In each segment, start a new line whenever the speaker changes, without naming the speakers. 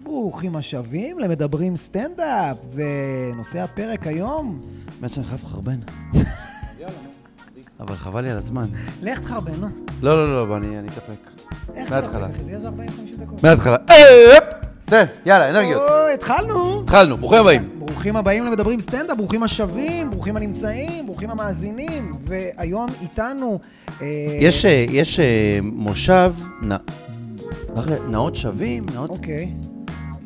ברוכים השבים למדברים סטנדאפ, ונושא הפרק היום,
באמת שאני חייב לחרבן. אבל חבל לי על הזמן.
לך תחרבן, נו.
לא, לא, לא, בוא, אני אני אתאפק.
איך
מההתחלה.
אתה- זה איזה 40-50 דקות.
מההתחלה. אפ! תן, יאללה, אנרגיות.
אוי, התחלנו!
התחלנו, ברוכים הבאים.
ברוכים הבאים למדברים סטנדאפ, ברוכים השבים, ברוכים הנמצאים, ברוכים המאזינים, והיום איתנו... אה,
יש, אה, יש אה, מושב, נ- אחלה, נאות שווים, נאות
אוקיי.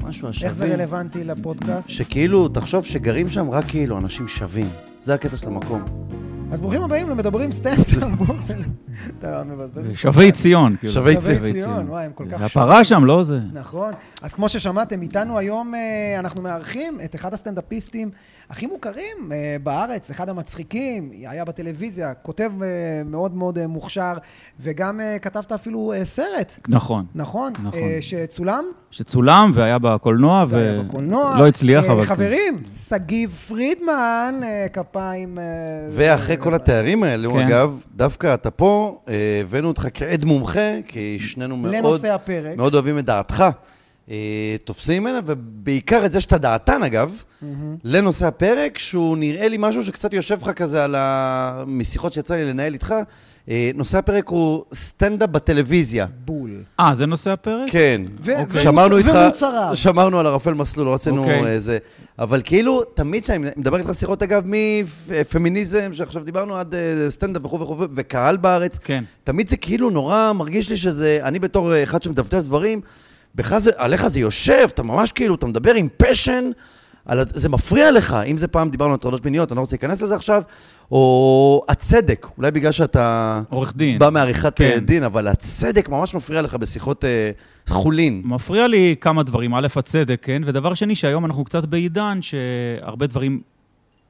משהו השווים.
איך זה רלוונטי לפודקאסט?
שכאילו, תחשוב שגרים שם רק כאילו אנשים שווים. זה הקטע של המקום.
אז ברוכים הבאים למדברים סטנדאפ. אתה מבזבז.
שבי ציון. כאילו.
שבי ציון.
שבי ציון, וואי, הם כל כך
זה הפרה שם, לא זה.
נכון. אז כמו ששמעתם, איתנו היום אה, אנחנו מארחים את אחד הסטנדאפיסטים הכי מוכרים אה, בארץ, אחד המצחיקים, היה בטלוויזיה, כותב אה, מאוד מאוד אה, מוכשר, וגם אה, כתבת אפילו אה, סרט,
נכון.
נכון?
נכון.
אה, שצולם?
שצולם והיה בקולנוע,
והיה
ו...
בקולנוע.
לא הצליח,
אה,
אבל...
חברים, שגיב פרידמן, אה, כפיים... אה,
ואחרי
זה-
כל התארים האלו,
כן.
אגב, דווקא אתה פה, אה, הבאנו אותך כעד מומחה, כי שנינו מאוד
לנושא הפרק.
מאוד אוהבים את דעתך. אה, תופסים ממנה, ובעיקר את זה שאתה דעתן, אגב,
מהמם.
לנושא הפרק, שהוא נראה לי משהו שקצת יושב לך כזה על ה... משיחות שיצא לי לנהל איתך. אה, נושא הפרק הוא סטנדאפ בטלוויזיה.
בול.
אה, זה נושא הפרק?
כן.
ו-
אוקיי. שמרנו
ומוצ-
איתך,
ומוצריו.
שמרנו על ערפל מסלול, לא רצינו
אוקיי.
איזה... אבל כאילו, תמיד כשאני מדבר איתך שיחות, אגב, מפמיניזם, שעכשיו דיברנו, עד אה, סטנדאפ וכו' וכו', וקהל בארץ,
כן.
תמיד זה כאילו נורא מרגיש לי שזה, אני בתור אה, אחד שמדפדף דברים, בך זה, עליך זה יושב, אתה ממש כאילו, אתה מדבר עם פשן, על, ה- זה מפריע לך, אם זה פעם דיברנו על הטרדות מיניות, אני לא רוצה להיכנס לזה עכשיו, או הצדק, אולי בגלל שאתה
עורך דין.
בא מעריכת
כן.
כן. דין, אבל הצדק ממש מפריע לך בשיחות אה, חולין.
מפריע לי כמה דברים. א', הצדק, כן? ודבר שני, שהיום אנחנו קצת בעידן שהרבה דברים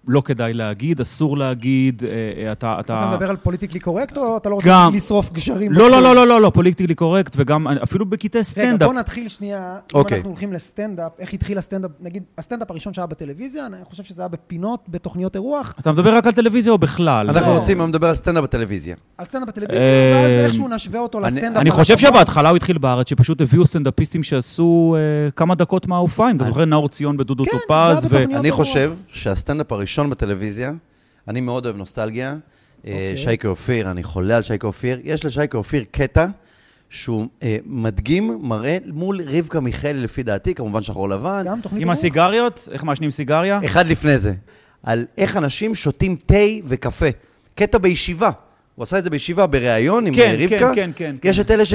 לא כדאי להגיד, אסור להגיד, אה, אה, אתה...
אתה מדבר על פוליטיקלי קורקט, או אתה לא רוצה
גם-
לשרוף גשרים?
לא, לא, לא, לא, לא, לא, פוליטיקלי קורקט, וגם אפילו בקטעי
רגע,
סטנדאפ.
בוא נתחיל שנייה, אם
אוקיי.
אנחנו הולכים לסטנדאפ, איך התחיל הסטנדאפ, נגיד, הסטנדאפ הראשון שהיה בטלוויזיה, אני חושב שזה היה בפינות, בתוכניות אירוח,
אתה מדבר רק על טלוויזיה או בכלל?
אנחנו
לא.
רוצים היום לדבר על סטנדאפ בטלוויזיה.
על סטנדאפ בטלוויזיה,
אה,
ואז איכשהו נשווה אותו
אני-
לסטנדאפ.
אני
על
חושב
הבמה.
שבהתחלה הוא התחיל בארץ, שפשוט הביאו סטנדאפיסטים שעשו אה, כמה דקות מההופעה, אם אתה
אני-
זוכר, נאור ציון בדודו
כן,
טופז,
זה היה בתוכניות.
אני
אירוח.
חושב שהסטנדאפ הראשון בטלוויזיה, אני מאוד אוהב נוסטלגיה. אה,
אוקיי.
שייקה אופיר, אני חולה על שייקה אופיר. יש לשייקה אופיר קטע שהוא אה, מדגים מראה מול רבקה מיכאלי, לפי דעתי, כמובן שחור לבן.
גם תוכנית
עם
אירוח.
הסיגריות, איך מעשנים סיגריה?
אה.
אחד לפני זה, על איך אנשים שותים תה וקפה. קטע בישיבה. הוא עשה את זה בישיבה, בריאיון עם
כן,
אה, רבקה.
כן, כן, כן,
יש את אלה ש...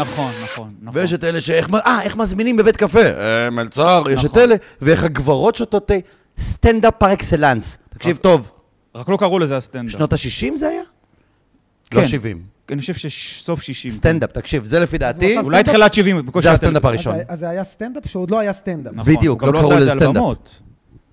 נכון, נכון, נכון.
ויש את אלה שאיך... אה, איך מזמינים בבית קפה? אה, מלצר, יש את
נכון.
אלה. ואיך הגברות שותות תה. סטנדאפ פר אקסלנס.
אה,
תקשיב טוב.
רק לא קראו לזה הסטנדאפ.
שנות ה-60 זה היה?
כן.
לא 70.
אני חושב שסוף 60.
סטנדאפ, תקשיב, זה לפי
הוא
דעתי,
עשה
אולי תחילת 70. בקושי
זה
היה
הסטנדאפ
טלוויזיה.
אז
הראשון.
זה- אז זה היה סטנדאפ שעוד לא היה סטנדאפ.
נכון,
בדיוק,
הוא גם
לא
לא
קראו
עשה
לזה
את זה על
סטנדאפ.
במות.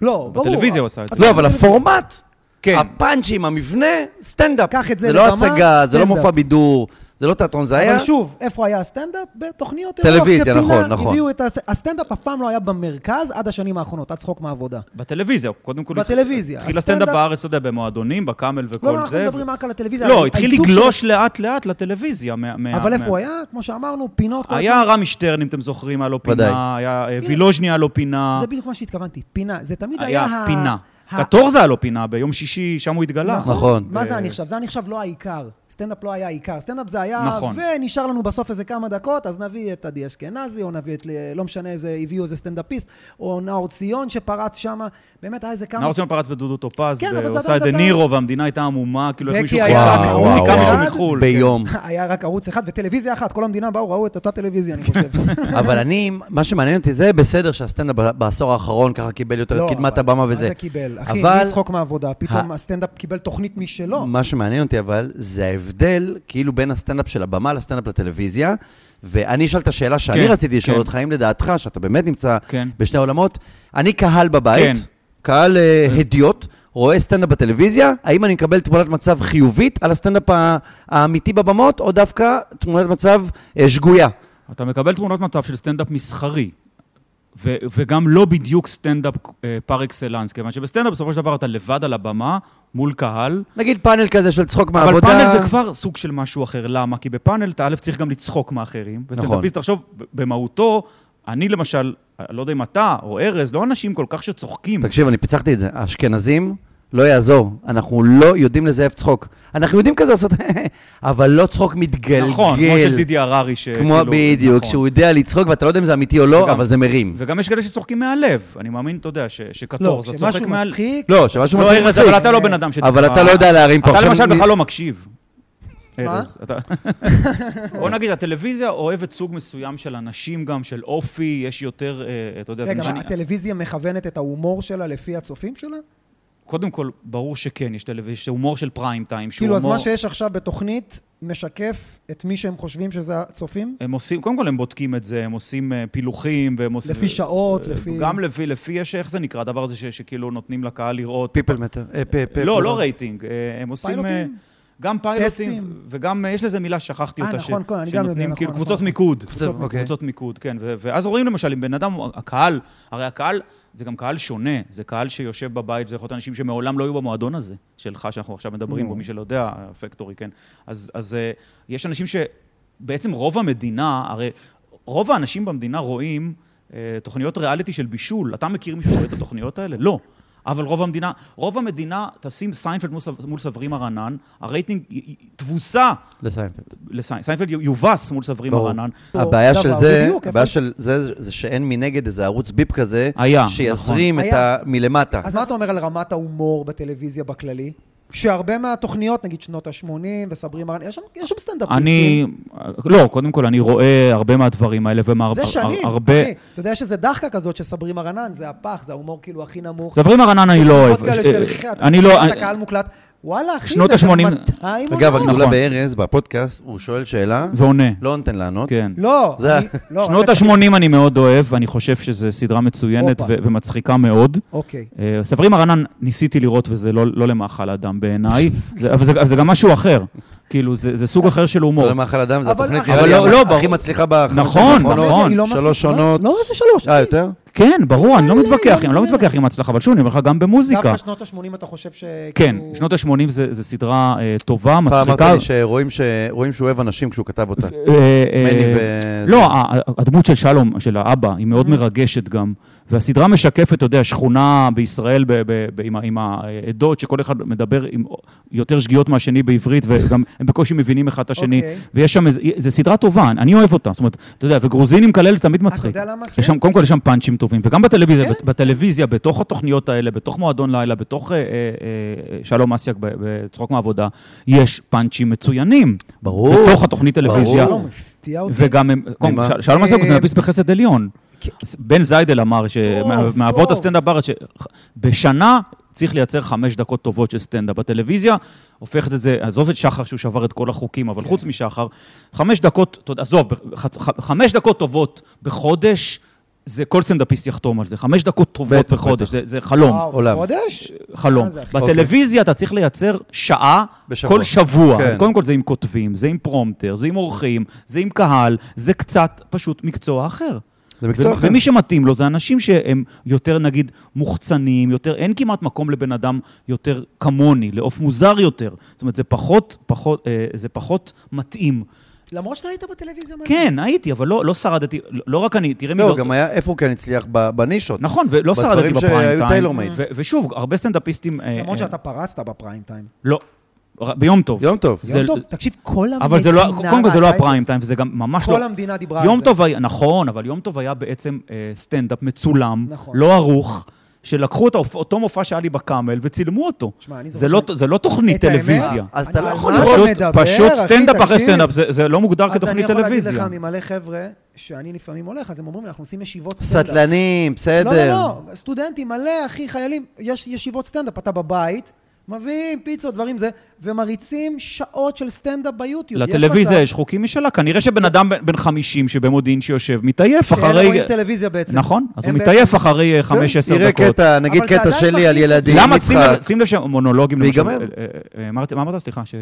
לא, ברור.
בטלוויזיה הוא עשה את זה.
לא, אבל הפורמט,
כן.
הפאנצ'ים, המבנה, סטנדאפ.
קח את זה
זה לא
לבמה,
הצגה, זה לא
סטנדאפ.
מופע בידור, זה לא תיאטרון, זה היה...
אבל שוב, איפה היה הסטנדאפ? בתוכניות אירוח.
טלוויזיה,
כפינה,
נכון, נכון.
הביאו את הס- הסטנדאפ אף פעם לא היה במרכז עד השנים האחרונות, עד צחוק מעבודה.
בטלוויזיה, קודם כל...
בטלוויזיה.
התחיל
הסטנדאפ-
הסטנדאפ בארץ, אתה יודע, במועדונים, בקאמל וכל זה.
לא, לא, אנחנו מדברים רק על הטלוויזיה.
לא,
אבל
התחיל
הייצוג
לגלוש לאט-לאט לטלוויזיה. מה-
של-
מה-
אבל איפה
מה-
הוא היה? כמו שאמרנו, פינות. כל
היה רמי שטרן, אם אתם זוכרים, היה לו פינה,
ודאי.
היה אה, וילוז'ני היה לו פינה,
זה בדיוק מה שהתכוונתי, פינה. זה תמיד היה...
היה
ה-
פינה.
ה-
קטורזה היה לו פינה, ביום שישי, שם הוא התגלה.
נכון.
מה זה
ו-
הנחשב? זה הנחשב לא העיקר. סטנדאפ לא היה העיקר. סטנדאפ זה היה...
נכון.
ונשאר לנו בסוף איזה כמה דקות, אז נביא את עדי אשכנזי, או נביא את... ל- לא משנה איזה... הביאו איזה סטנדאפיסט, או נאור ציון שפרץ שמה. באמת היה איזה כמה...
נאור ציון פרץ בדודו טופז,
כן, אבל זה
והוא עשה
עדיין
את דה
דבר-
נירו, והמדינה הייתה עמומה, כאילו
זה
איך
כי
מישהו
היה רק
חיכה
ערוץ
חיכה מישהו
אחד
מחו"ל. כן.
ביום.
היה רק ערוץ אחד, וטלוויזיה אחת, כל המדינה באו, ראו את אותה טלוויזיה, אני חושב.
אבל אני, מה שמעניין אותי זה בסדר שהסטנדאפ ב- בעשור האחרון ככה קיבל יותר
לא,
את קדמת
אבל-
הבמה
מה
וזה.
זה קיבל? אחי,
אבל-
מצחוק מעבודה, פתאום
ה-
הסטנדאפ קיבל תוכנית
לא.
משלו.
מה שמעניין אותי אבל, זה ההבדל כאילו בין הסטנדאפ של הבמה לסטנדאפ לטלוויזיה, ואני אשאל את השאלה שאני
כן,
רציתי לשאול
כן.
אותך, האם לדעתך, שאתה באמת נמצא
כן.
בשני העולמות, אני קהל בבית,
כן.
קהל אה, הדיוט, רואה סטנדאפ בטלוויזיה, האם אני מקבל תמונת מצב חיובית על הסטנדאפ ה- האמיתי בבמות, או דווקא תמונת מצב אה, שגויה?
כן. אתה מקבל תמונות מצב של סטנדאפ מסחרי, ו- וגם לא בדיוק סטנדאפ אה, פר אקסלנס, כיוון שבסטנדאפ בסופו של דבר אתה לבד על הבמה, מול קהל,
נגיד פאנל כזה של צחוק
אבל
מהעבודה.
פאנל זה כבר סוג
נכון.
של משהו אחר. למה? כי בפאנל אתה א' צריך גם לצחוק מאחרים, וסטנדאפיסט, תחשוב, ב- במהותו, אני למשל, אני לא יודע אם אתה או ארז, לא אנשים כל כך שצוחקים.
תקשיב, אני פיצחתי את זה. האשכנזים, לא יעזור. אנחנו לא יודעים לזייף צחוק. אנחנו יודעים כזה לעשות, אבל לא צחוק מתגלגל.
נכון, כמו של דידי הררי,
כמו
שכאילו-
בדיוק,
נכון.
שהוא יודע לצחוק, ואתה לא יודע אם זה אמיתי או לא,
וגם-
אבל זה מרים.
וגם יש כאלה שצוחקים מהלב. אני מאמין, אתה יודע, ש-
לא,
שקטורזה צוחק
כשמשהו
מהלב.
מצחיק,
לא, שמשהו
לא,
מצחיק
ארז,
מצחיק.
אבל אתה לא בן אדם שתקרא...
אבל אתה לא יודע להרים פה.
אתה
עכשיו
למשל
אני-
בכלל לא מקשיב.
מה?
ארז, אתה... בוא נגיד, הטלוויזיה אוהבת סוג מסוים של אנשים גם, של אופי, יש יותר, אה, אתה יודע... זה
רגע,
משנה-
מה, הטלוויזיה מכוונת את ההומור שלה לפי הצופים שלה?
קודם כל, ברור שכן, יש טלוויזיה, יש הומור של פריים טיים, שהוא
כאילו, אז
הומור...
מה שיש עכשיו בתוכנית משקף את מי שהם חושבים שזה הצופים?
הם עושים, קודם כל הם בודקים את זה, הם עושים אה, פילוחים, והם עושים...
לפי שעות,
אה,
לפי...
גם לפי, לפי יש, איך זה נקרא, הדבר הזה ש, שכאילו נותנים לקהל לראות...
People matter. אה, פ- פ-
לא,
פ-
לא רייטינג, אה, הם עושים... אה,
פיילוטים?
גם פיילוטים,
טסטים.
וגם, אה, יש לזה מילה, שכחתי
אה,
אותה,
נכון, כן, אני גם יודע,
שנותנים
נכון,
כאילו
נכון,
קבוצות
נכון.
מיקוד.
קבוצות, אוקיי.
קבוצות מיקוד, כן, ו- ואז רואים למשל, אם בן אדם, הקהל, הרי הקהל, זה גם קהל שונה, זה קהל שיושב בבית, זה יכול להיות אנשים שמעולם לא היו במועדון הזה, שלך, שאנחנו עכשיו מדברים בו, מי שלא יודע, הפקטורי, כן. אז, אז אה, יש אנשים שבעצם רוב המדינה, הרי רוב האנשים במדינה רואים אה, תוכניות ריאליטי של בישול. אתה מכיר מישהו שרואה את התוכניות האלה? לא. אבל רוב המדינה, רוב המדינה, תשים סיינפלד מול, סב- מול סברים הרענן, הרייטינג י- י- תבוסה
לסיינפלד.
לסיינפלד, סיינפלד יובס מול סברים
ברור.
הרענן.
אותו
הבעיה
לא,
דבר,
של זה,
בדיוק,
הבעיה
איפה-
של זה, זה שאין מנגד איזה ערוץ ביפ כזה,
היה,
שיזרים
נכון.
את ה... מלמטה.
אז מה אתה אומר על רמת ההומור בטלוויזיה בכללי? שהרבה מהתוכניות, נגיד שנות ה-80 וסברי מרן, יש שם- יש שם סטנדאפיסטים.
אני, לא, קודם כל, אני רואה הרבה מהדברים האלה ומהרבה...
זה שנים,
הרבה...
אחי. אתה יודע שזה דחקה כזאת שסברי מרנן, זה הפח, זה ההומור כאילו הכי נמוך.
סברים הרענן אני לא אוהב.
תגובות כאלה של, "אחי, אתה
אני לא...
שומע את הקהל מוקלט, וואלה, אחי,
שנות
זה גם
ה-שמונים.
200 עונות.
אגב, הגדולה
נכון.
בארז, בפודקאסט, הוא שואל שאלה,
ועונה,
לא נותן לענות.
כן.
לא,
זה-
אני- לא,
שנות
רגע,
ה-80 אני מאוד אוהב, ואני חושב שזו סדרה מצוינת ו-
הופה.
ומצחיקה מאוד.
אוקיי.
אה, סברים הרענן ניסיתי לראות, וזה לא, לא למאכל אדם בעיניי, זה- אבל זה, אבל זה גם משהו אחר. כאילו, זה, זה סוג אחר של הומור.
לא למאכל אדם, זה
אבל-
התוכנית
אבל
נראה לי
לא, לא,
הכי
ברור.
מצליחה בחמש שנים
נכון,
האחרונות.
נכון.
היא לא
שלוש
מצליחה.
עונות.
לא, זה שלוש.
אה, יותר?
כן, ברור, אני לא
לא, לא,
מתווכח,
לא,
אני לא
לא.
מתווכח עם ההצלחה, אבל שוב, אני אומר לך, גם במוזיקה.
דווקא שנות ה-80 אתה חושב אה, ש...
כן, שנות ה-80 זו סדרה אה, טובה,
פעם אמרת
מצחיקה.
לי שרואים ש- רואים שהוא אוהב אנשים כשהוא כתב אותה.
אה, אה,
מני ו-
לא, ה- ה- הדמות של שלום, של האבא, היא
Mm-hmm.
מאוד מרגשת גם. והסדרה משקפת, אתה יודע, שכונה בישראל ב- ב- ב- עם ה- עם העדות, שכל אחד מדבר עם יותר שגיאות מהשני בעברית, וגם הם בקושי מבינים אחד את השני.
אוקיי.
ויש שם איזה, זו סדרה טובה, אני אוהב אותה. זאת אומרת, אתה יודע, וגרוזינים כאלה זה תמיד
אתה
מצחיק.
יודע למה?
יש שם, קודם כל יש שם פאנצ'ים טובים, וגם בטלוויזיה,
כן.
בת- בטלוויזיה, בתוך התוכניות האלה, בתוך מועדון לילה, בתוך אה, אה, אה, שלום אסיאק ב- בצחוק מהעבודה, יש פאנצ'ים מצוינים.
ברור.
בתוך התוכנית טלוויזיה.
לא, מפתיע אותי.
וגם הם, קודם כל,
ממה?
של- שלום אסיאק הוא
אה,
סטנדאפיסט בחסד עליון.
כן.
בן זיידל אמר, ש-
טוב,
מה-
טוב.
מאבות הסטנדאפ בארץ, שבשנה צריך לייצר חמש דקות טובות של סטנדאפ. בטלוויזיה הופכת את זה, עזוב את שחר שהוא שבר את כל החוקים,
כן.
אבל חוץ משחר, חמש דקות, אתה יודע, עזוב, בח- ח- ח- חמש דקות טובות בחודש, זה כל סטנדאפיסט יחתום על זה. חמש דקות טובות
בטח,
בחודש,
בטח.
זה- זה חלום.
וואו,
עולם.
חודש?
חלום.
מה זה, אחי?
בטלוויזיה אתה צריך לייצר שעה
בשבוע.
כל שבוע.
כן.
אז קודם כל זה עם כותבים, זה עם פרומטר, זה עם אורחים, זה עם קהל, זה קצת פשוט מקצוע אחר.
זה מקצוע
ו-
אחר.
ומי שמתאים לו זה אנשים שהם יותר נגיד מוחצנים, יותר, אין כמעט מקום לבן אדם יותר כמוני, לעוף מוזר יותר. זאת אומרת, זה פחות, פחות, אה, זה פחות מתאים.
למרות שאתה היית בטלוויזיה מלא.
כן, הייתי, אבל לא, לא שרדתי, לא, לא רק אני, תראה מי...
לא, גם היה איפה הוא כן הצליח ב- בנישות.
נכון, ולא
בדברים
שרדתי בפריים טיים.
שהיו tailor-made.
ו- ושוב, הרבה סטנדאפיסטים... אה,
למרות
אה,
שאתה לא פרסת בפריים טיים.
לא, ר- ביום טוב.
יום טוב.
נכון. זה-
יום טוב, תקשיב, כל המדינה...
אבל זה לא, קודם כל זה לא
ראתה את
הפריים טיים, וזה גם ממש לא...
כל המדינה דיברה על זה.
יום טוב היה, נכון, אבל יום טוב היה בעצם אה, סטנדאפ מצולם,
נכון.
לא ערוך, שלקחו את האופ- אותו מופע שהיה לי בקאמל וצילמו אותו.
שמע, אני
זה
זוכר
לא-
שאני-
זה לא תוכנית
את האמת,
טלוויזיה. נכון,
אז אתה
אני-
לא
על
יכול
מה
לראות-
אתה מדבר,
פשוט
אחי,
סטנדאפ אחרי
תקשיב.
סטנדאפ, זה- זה לא מוגדר
אז אני
כתוכנית
יכול להגיד לך
טלוויזיה.
ממלא חבר'ה, שאני לפעמים הולך, אז הם אומרים לי, אנחנו עושים ישיבות סטנדאפ.
סטלנים,
לא, לא,
בסדר.
לא, סטודנטים מלא, אחי, חיילים, יש ישיבות סטנדאפ, אתה בבית, מביאים פיצות, דברים זה, ומריצים שעות של סטנדאפ ביוטיוב. יש
לטלוויזיה
מצב
יש חוקים משלה, כנראה שבן אדם בן- בן 50 שבמודיעין שיושב, מתעייף
שהם
אחרי...
רואים טלוויזיה בעצם.
נכון, אז הוא
הם
מתעייף
בעצם- כן.
אחרי אה, 5-10
תראה
דקות.
קטע, נגיד
אבל זה
קטע
עדיין
שלי על
מכניס
ילדים,
למה? שים
משחק.
לב- שים לב שהמונולוגים... למשל-
ויגמר.
אה, אה, אה, מה רצית- מה אמרת? סליחה, ש...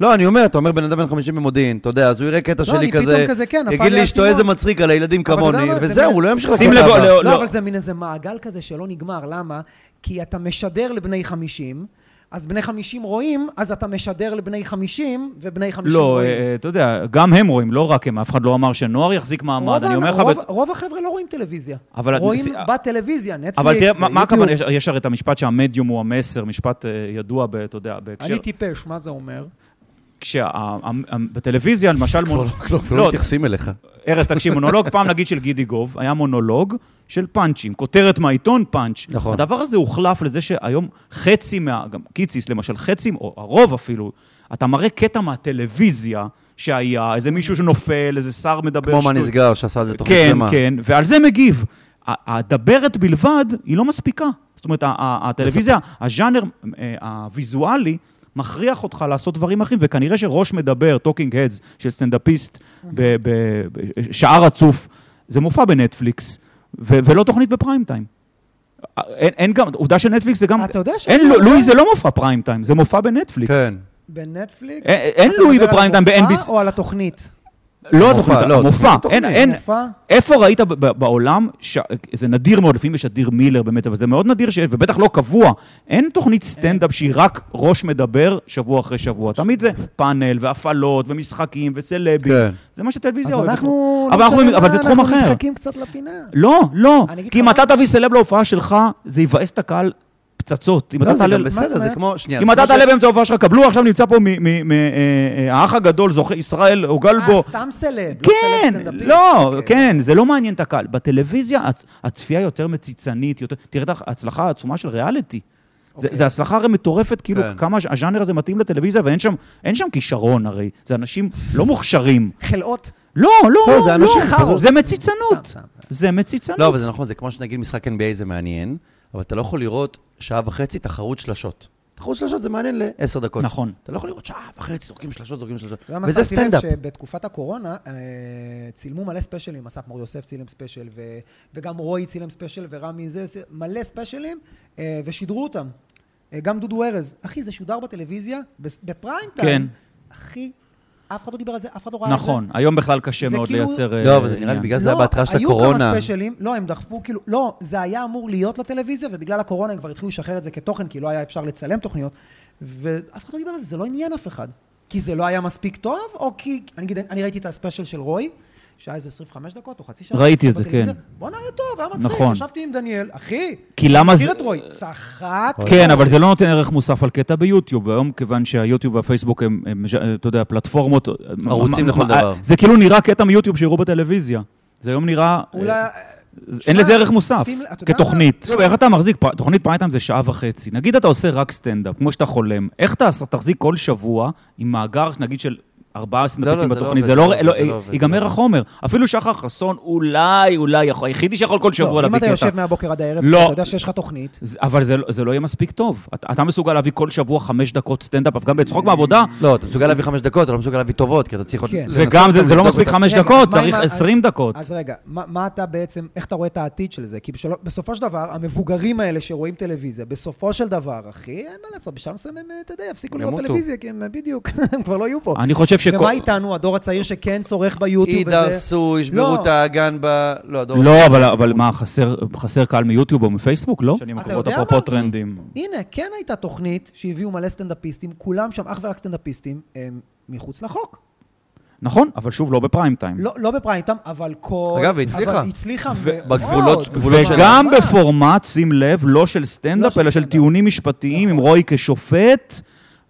לא, אני אומר, אתה אומר בן אדם בן 50 במודיעין, אתה יודע, אז הוא יראה קטע
לא,
שלי
אני
כזה,
פתאום כזה, כן, נפל
יגיד
לי
לי שאתה
האסימון."
איזה מצחיק על הילדים
אבל אתה יודע
כמוני,
מה, זה
וזהו,
מין-
הוא לא ימשיך
שים לב,
לקטע הבא.
לא,
לא,
לא.
אבל זה מין איזה מעגל כזה שלא נגמר, למה? כי אתה משדר לבני 50, אז בני 50 רואים, אז אתה משדר לבני 50, ובני 50
לא,
רואים.
אה, אה, אתה יודע, גם הם רואים, לא רק הם, אף אחד לא אמר שנוער יחזיק מעמד,
רוב,
אני אומר לך...
רוב,
בת-
רוב החבר'ה לא רואים טלוויזיה.
אבל את-
רואים
זה-
בטלוויזיה, נטפליקס,
אבל תראה, מה- מה
ויוטיוב.
הכוונה? יש- יש הרי את המשפט שהמדיום הוא המסר, משפט אה, ידוע, ב- אתה יודע, בהקשר...
אני טיפש, מה זה אומר?
כשבטלוויזיה, למשל, מונ-
כבר
לא,
לא מתייחסים אליך.
ארז, תקשיב, מונולוג, פעם נגיד של גידי גוב, היה מונולוג של פאנצ'ים, כותרת מהעיתון פאנץ'.
נכון.
הדבר הזה הוחלף לזה שהיום חצי מה... גם קיציס למשל, חצי, או הרוב אפילו, אתה מראה קטע מהטלוויזיה שהיה, איזה מישהו שנופל, איזה שר מדבר
כמו מה נסגר, שעשה על זה תוכנית
כן,
שלמה.
כן, ועל זה מגיב. ה- הדברת בלבד היא לא מספיקה. זאת אומרת, ה- ה- הטלוויזיה, הז'אנר אה, הוויזואלי, מכריח אותך לעשות דברים אחרים, וכנראה שראש מדבר, טוקינג הדס, של סטנדאפיסט, בשעה רצוף, זה מופע בנטפליקס, ו- ולא תוכנית בפריים טיים. אה, אין, אין גם, עובדה שנטפליקס זה גם...
אתה יודע ש-
אין, לו- לואי זה לא מופע פריים טיים, זה מופע בנטפליקס.
כן.
בנטפליקס?
אין- אה, אין
אתה
לואי
מדבר על
בפריים טיים
המופע
ב-NBC.
או על התוכנית?
לא
המופע,
התוכנית,
לא,
המופע.
התוכנית,
אין, אה, אין,
מופע?
איפה ראית ב- ב- בעולם, ש... זה נדיר מאוד, לפעמים יש אדיר מילר באמת, אבל זה מאוד נדיר שיש, ובטח לא קבוע. אין תוכנית סטנדאפ שהיא רק ראש מדבר שבוע אחרי שבוע. תמיד זה פאנל, והפעלות, ומשחקים, וסלבים.
כן.
זה מה שהטלוויזיה
אז
אוהבת.
אנחנו...
אבל
לא
אנחנו-
משנה
אבל
מה,
זה תחום
אנחנו
אחר.
נדחקים קצת לפינה.
לא, לא.
אני אגיד
כי
לך
אם
מה-
אתה תביא סלב להופעה שלך, זה יבאס את הקהל פצצות. אם
לא,
אתה
זה
תעלה...
גם
מה זאת
בסדר, זה
אומרת?
כמו... שנייה,
אם
זה
אתה
כמו ש-
תעלה באמצע ההופעה שלך, קבלו, עכשיו נמצא פה מהאח אה, הגדול, זוכה, ישראל, הוגל
אה,
בו.
סתם סלב. לא
כן,
סלב סטנדאפיסט.
לא,
אוקיי.
כן, זה לא מעניין את הקהל. בטלוויזיה הצ- הצפייה יותר מציצנית, יותר... תראה את ההצלחה העצומה של ריאליטי. זה,
אוקיי.
זה הצלחה הרי מטורפת, כאילו
כן.
כמה הז'אנר הזה מתאים לטלוויזיה, ואין שם, אין שם כישרון הרי. זה אנשים לא מוכשרים.
חלאות.
לא, לא,
לא, זה אנשים
חארות.
זה מציצנות.
סתם, סתם.
זה מציצנות.
לא, אבל זה נכון, זה כמו שנגיד משחק NBA זה מעניין, אבל אתה לא יכול לראות שעה וחצי תחרות שלשות. תחרות שלשות זה מעניין לעשר דקות.
נכון.
אתה לא יכול לראות שעה וחצי זורקים שלשות, זורקים שלשות.
אתה יודע מה
וזה
שמתי לב?
סטנדאפ.
שבתקופת הקורונה אה, צילמו מלא ספיישלים, אסף מור יוסף צילם ספיישל, ו- וגם רועי צילם ספיישל, ורמי זה, זה- מלא ספיישלים, אה, ושידרו אותם. אה, גם דודו ארז. אחי, זה שודר בטלוויזיה, בס- בפריים טיים. אחי, אף אחד לא דיבר על זה, אף אחד לא ראה את זה.
נכון, היום בכלל קשה
זה
מאוד
כאילו-
לייצר... אה,
לא, אבל זה נראה לי
עניין.
בגלל שזה היה
לא,
בהתחלה של
היו כמה
הקורונה.
ספיישלים, לא, הם דחפו, כאילו, לא, זה היה אמור להיות לטלוויזיה, ובגלל הקורונה הם כבר התחילו לשחרר את זה כתוכן, כי לא היה אפשר לצלם תוכניות, ואף אחד לא דיבר על זה, זה לא עניין אף אחד. כי זה לא היה מספיק טוב, או כי... אני אגיד, אני ראיתי את הספיישל של רוי, שהיה איזה 25 דקות או חצי שעה.
ראיתי את זה,
בטלוויזיה.
כן.
בואנה, היה טוב, היה מצחיק,
נכון.
ישבתי עם דניאל, אחי,
כי למה זה...
מכיר את רוי, צחק.
כן, אבל זה לא נותן ערך מוסף על קטע ביוטיוב. היום, כיוון שהיוטיוב והפייסבוק הם, הם, אתה יודע, פלטפורמות...
ערוצים
מה-
לכל
מה-
דבר.
זה כאילו נראה קטע מיוטיוב שיראו בטלוויזיה. זה היום נראה... אה,
אולי...
אין
שמע,
לזה ערך מוסף,
שים- אתה יודע
כתוכנית. לא, איך אתה מחזיק, פ- תוכנית פריים טיים זה שעה וחצי. נגיד אתה עושה רק סטנדאפ, כמו שאתה חולם, איך אתה תחזיק כל שבוע עם מאגר, נגיד, של ארבעה סטנדאפיסטים
לא, זה לא
בתוכנית?
עובד,
זה
זה
לא...
לא
לא-
עובד, זה לא עובד.
ייגמר החומר. אפילו שחר חסון, אולי, אולי, יכול- היחידי שיכול כל
לא,
שבוע
אם
להביא
אתה
קטע.
יושב מהבוקר עד הערב,
לא.
אתה יודע שיש לך תוכנית.
זה- אבל זה, לא- זה לא יהיה מספיק טוב. אתה, אתה מסוגל להביא כל שבוע חמש דקות סטנדאפ, גם בצחוק בעבודה,
לא, אתה מסוגל להביא חמש דקות, אתה לא מסוגל להביא טובות, כי אתה צריך עוד...
כן.
לנסות
וגם זה,
אותם,
זה לא
לבדוק
מספיק
אותם.
חמש
רגע, אז
דקות,
כן, מה
צריך
עם ה-
עשרים דקות.
אז רגע, מה, מה אתה בעצם, איך אתה רואה את העתיד של זה? כי בשל... בסופו של דבר, המבוגרים האלה שרואים טלוויזיה, בסופו של דבר, אחי, אין מה לעשות, בשלב מסוים הם, אה, אתה יודע, יפסיקו לראות
ימותו.
טלוויזיה, כי הם אה, בדיוק, הם כבר לא יהיו פה.
אני חושב שכל...
ומה איתנו, הדור הצעיר שכן צורך ביוטיוב
עידר
וזה?
סו,
לא.
ישברו את האגן ב... לא, הדור...
לא, אבל, אבל מה, חסר, חסר קהל מיוטיוב או מפייסבוק, לא? שנים
אתה
הקרובות,
יודע
אפרופו
מה?
טרנדים.
הנה, כן הייתה תוכנית שהביאו מלא סטנדאפיסטים, כולם שם אך ורק סטנדאפיסטים, הם מחוץ לחוק.
נכון, אבל שוב, לא בפריים טיים.
לא, לא בפריים טיים, אבל כל...
אגב, היא הצליחה.
אבל הצליחה
ו-
מאוד.
בגבולות- גבולות של-
וגם
ממש.
בפורמט, שים לב, לא של סטנדאפ,
לא של
אלא של
סטנדאפ. נכון.
טיעונים משפטיים, עם רועי כשופט,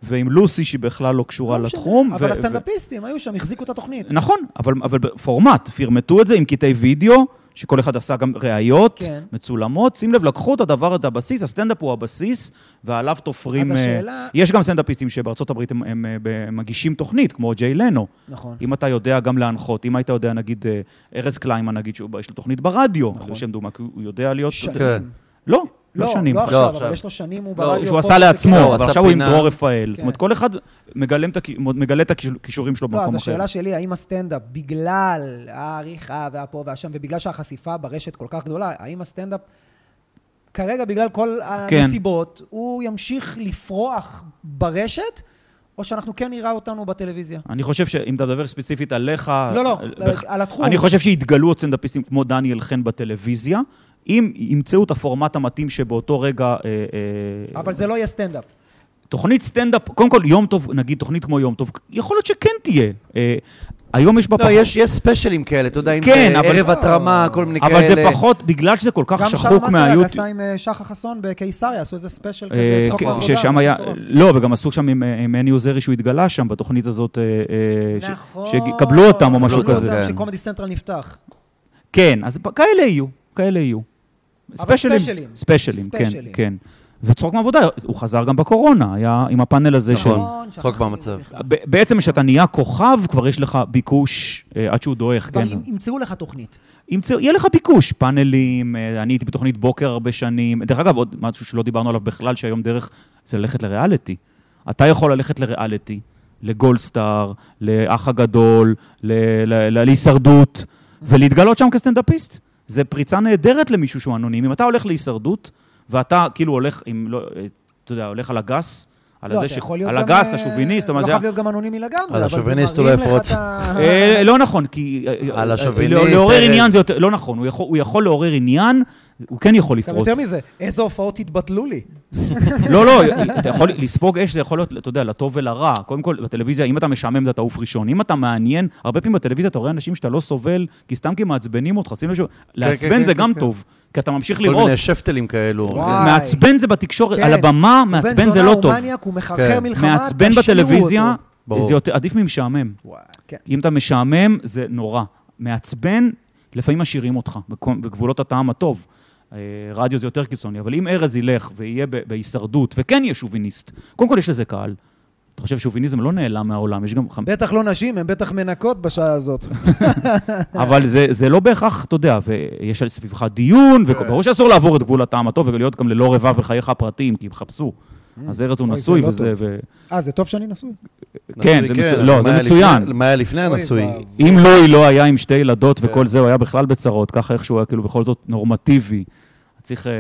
ועם לוסי, שהיא בכלל לא קשורה
לא משנה,
לתחום. ו-
אבל
ו-
הסטנדאפיסטים היו שם, החזיקו את התוכנית.
נכון, אבל, אבל בפורמט, פרמטו את זה עם קטעי וידאו, שכל אחד עשה גם ראיות
כן.
מצולמות. שים לב, לקחו את הדבר, את הבסיס, הסטנדאפ הוא הבסיס, ועליו תופרים...
אז
אה,
השאלה-
יש גם סטנדאפיסטים שבארצות הברית הם, הם, אה, ב- הם מגישים תוכנית, כמו ג'יי לנו.
נכון.
אם אתה יודע גם להנחות, אם היית יודע, נגיד, אה, ארז קליימן, נגיד, שהוא- יש לו תוכנית ברדיו,
נכון.
לשם דוגמה, כי הוא יודע להיות...
שנים.
כן.
לא, לא,
לא,
שנים.
לא
לא,
עכשיו,
עכשיו.
אבל יש לו שנים, הוא
לא,
ברדיו.
שהוא
פה
עשה לעצמו,
לא, הוא
אבל
עשה
עכשיו הוא עם
פינה.
דרור רפאל. זאת אומרת,
כן.
כל אחד מגלם את הכי- מגלה את הכישורים שלו
לא,
במקום
אז
אחר.
השאלה שלי, האם הסטנדאפ, בגלל העריכה והפה והשם, ובגלל שהחשיפה ברשת כל כך גדולה, האם הסטנדאפ, כרגע בגלל כל
כן.
הנסיבות, הוא ימשיך לפרוח ברשת, או שאנחנו כן נראה אותנו בטלוויזיה?
אני חושב שאם אתה מדבר ספציפית עליך...
לא, לא,
על-
על התחום.
אה, אני חושב שיתגלו עוד סטנדאפיסטים כמו דניאל חן בטלוויזיה, אם ימצאו את הפורמט המתאים שבאותו רגע... אה, אה,
אבל זה לא יהיה סטנדאפ.
תוכנית סטנדאפ, קודם כל, יום טוב, נגיד תוכנית כמו יום טוב, יכול להיות שכן תהיה. אה, היום יש בה
לא, יש יש ספיישלים כאלה, אתה יודע, אם
כן,
זה
אבל-
ערב התרמה, כל מיני כאלה.
אבל זה פחות, בגלל שזה כל כך
גם
שחוק
מסעדה
מהיוטיוב.
עשה עם אה, שחר חסון בקיסריה, עשו איזה ספיישל כזה,
אה,
צחוק
כן,
בעבודה.
ששם
משהו
היה,
מטורף.
לא, וגם עשו שם עם- עם מני עוזרי שהוא התגלה שם בתוכנית הזאת, אה, אה, ש-
נכון.
שקבלו אותם או משהו
קבלו
כזה.
אותם,
כן.
שקומדי סנטרל נפתח.
כן, אז ב- כאלה יהיו, כאלה יהיו.
אבל
ספיישלים.
ספיישלים.
ספיישלים, כן,
ספיישלים.
כן. וצחוק מעבודה, הוא חזר גם בקורונה, היה עם הפאנל הזה של...
נכון,
צחוק
שכחתי
במצב.
בכלל.
ב- בעצם כשאתה נהיה כוכב, כבר יש לך ביקוש אה, עד שהוא דועך,
כבר
כן.
ימצ- ימצאו לך תוכנית.
ימצאו, יהיה לך ביקוש, פאנלים, אה, אני הייתי בתוכנית בוקר הרבה שנים. דרך אגב, עוד משהו שלא דיברנו עליו בכלל, שהיום דרך, זה ללכת לריאליטי. אתה יכול ללכת לריאליטי, לגולדסטאר, לאח הגדול, ל- ל- ל- להישרדות, ולהתגלות שם כסטנדאפיסט. זה פריצה נהדרת למישהו שהוא אנונימי. אם אתה הולך להישרדות, ואתה כאילו הולך עם, לא, אה, אתה יודע, הולך על הגס, על
לא,
זה
אתה
ש...
יכול להיות
על
גם,
הגס, אתה
אה,
שוביניסט, אתה
לא
מה זה...
חייב להיות גם אנונימי לגמרי,
על
אבל זה
השוביניסט הוא
מרים
לא
לך
יפרוץ.
את ה-
אה, לא נכון, כי... אה,
על
אה,
השוביניסט,
לא- לעורר
ארז.
עניין זה יותר... לא נכון, הוא יכול- הוא יכול לעורר עניין, הוא כן יכול
גם
לפרוץ.
יותר מזה, איזה הופעות התבטלו לי.
לא, לא, אתה יכול לספוג אש, זה יכול להיות, אתה יודע, לטוב ולרע. קודם כל, בטלוויזיה, אם אתה משעמם, אתה תעוף ראשון. אם אתה מעניין, הרבה פעמים בטלוויזיה אתה רואה אנשים שאתה לא סובל, כי סתם כי מעצבנים אותך. שים לב ש...
כן,
לעצבן זה
כן,
גם
כן.
טוב, כי אתה ממשיך
כל
לראות.
מיני שפטלים כאלו.
וואו. וואי.
מעצבן זה בתקשורת,
כן.
על הבמה,
הוא בן
מעצבן זה
זונה,
לא
הוא
טוב.
מניאק, הוא מחרחר
כן.
מלחמה,
מעצבן
תשאירו
בטלוויזיה,
אותו.
ברור.
זה יותר- עדיף ממשעמם.
וואי, כן.
אם אתה משעמם, זה נורא. מעצבן, לפעמים משאירים אותך, בקו- בגבולות הטעם הטוב. אה, רדיו זה יותר קיצוני, אבל אם ארז ילך ויהיה ב- בהישרדות, וכן יהיה שוביניסט, קודם כל יש לזה קהל. אתה חושב שוביניזם לא נעלם מהעולם, יש גם... חמ-
בטח לא נשים, הן בטח מנקות בשעה הזאת.
אבל זה, זה לא בהכרח, אתה יודע, ויש על סביבך דיון,
כן.
וברור שאסור לעבור את גבול הטעם הטוב ולהיות גם ללא רבב בחייך הפרטיים, כי הם חפשו. אז ארז הוא
אוי, זה
נשוי
לא
וזה...
טוב.
ו-
אה, זה טוב שאני נשוי.
כן, זה
נשוי,
מצו- לא,
אבל
זה
מה היה
מצוין.
לפני- מה היה לפני הנשוי?
אוי, וואו.
אם לואי לא היה עם שתי ילדות
כן.
וכל זה, הוא היה בכלל בצרות, ככה איכשהו היה כאילו בכל זאת נורמטיבי. צריך... אה, אה,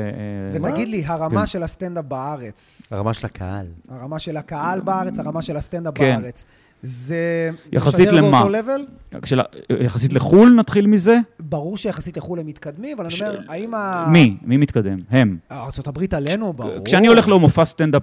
ותגיד לי,
כן.
הרמה של הסטנדאפ בארץ,
הרמה של הקהל.
הרמה של הקהל בארץ, הרמה של הסטנדאפ
כן.
בארץ, זה...
יחסית
משדר
למה?
באותו level?
כשלה- אה, יחסית לחו"ל נתחיל מזה?
ברור שיחסית לחו"ל הם מתקדמים, אבל אני
ש-
אומר, האם ה...
מי? מי מתקדם? הם.
ארה"ב עלינו, אה. ברור.
כשאני הולך למופע סטנדאפ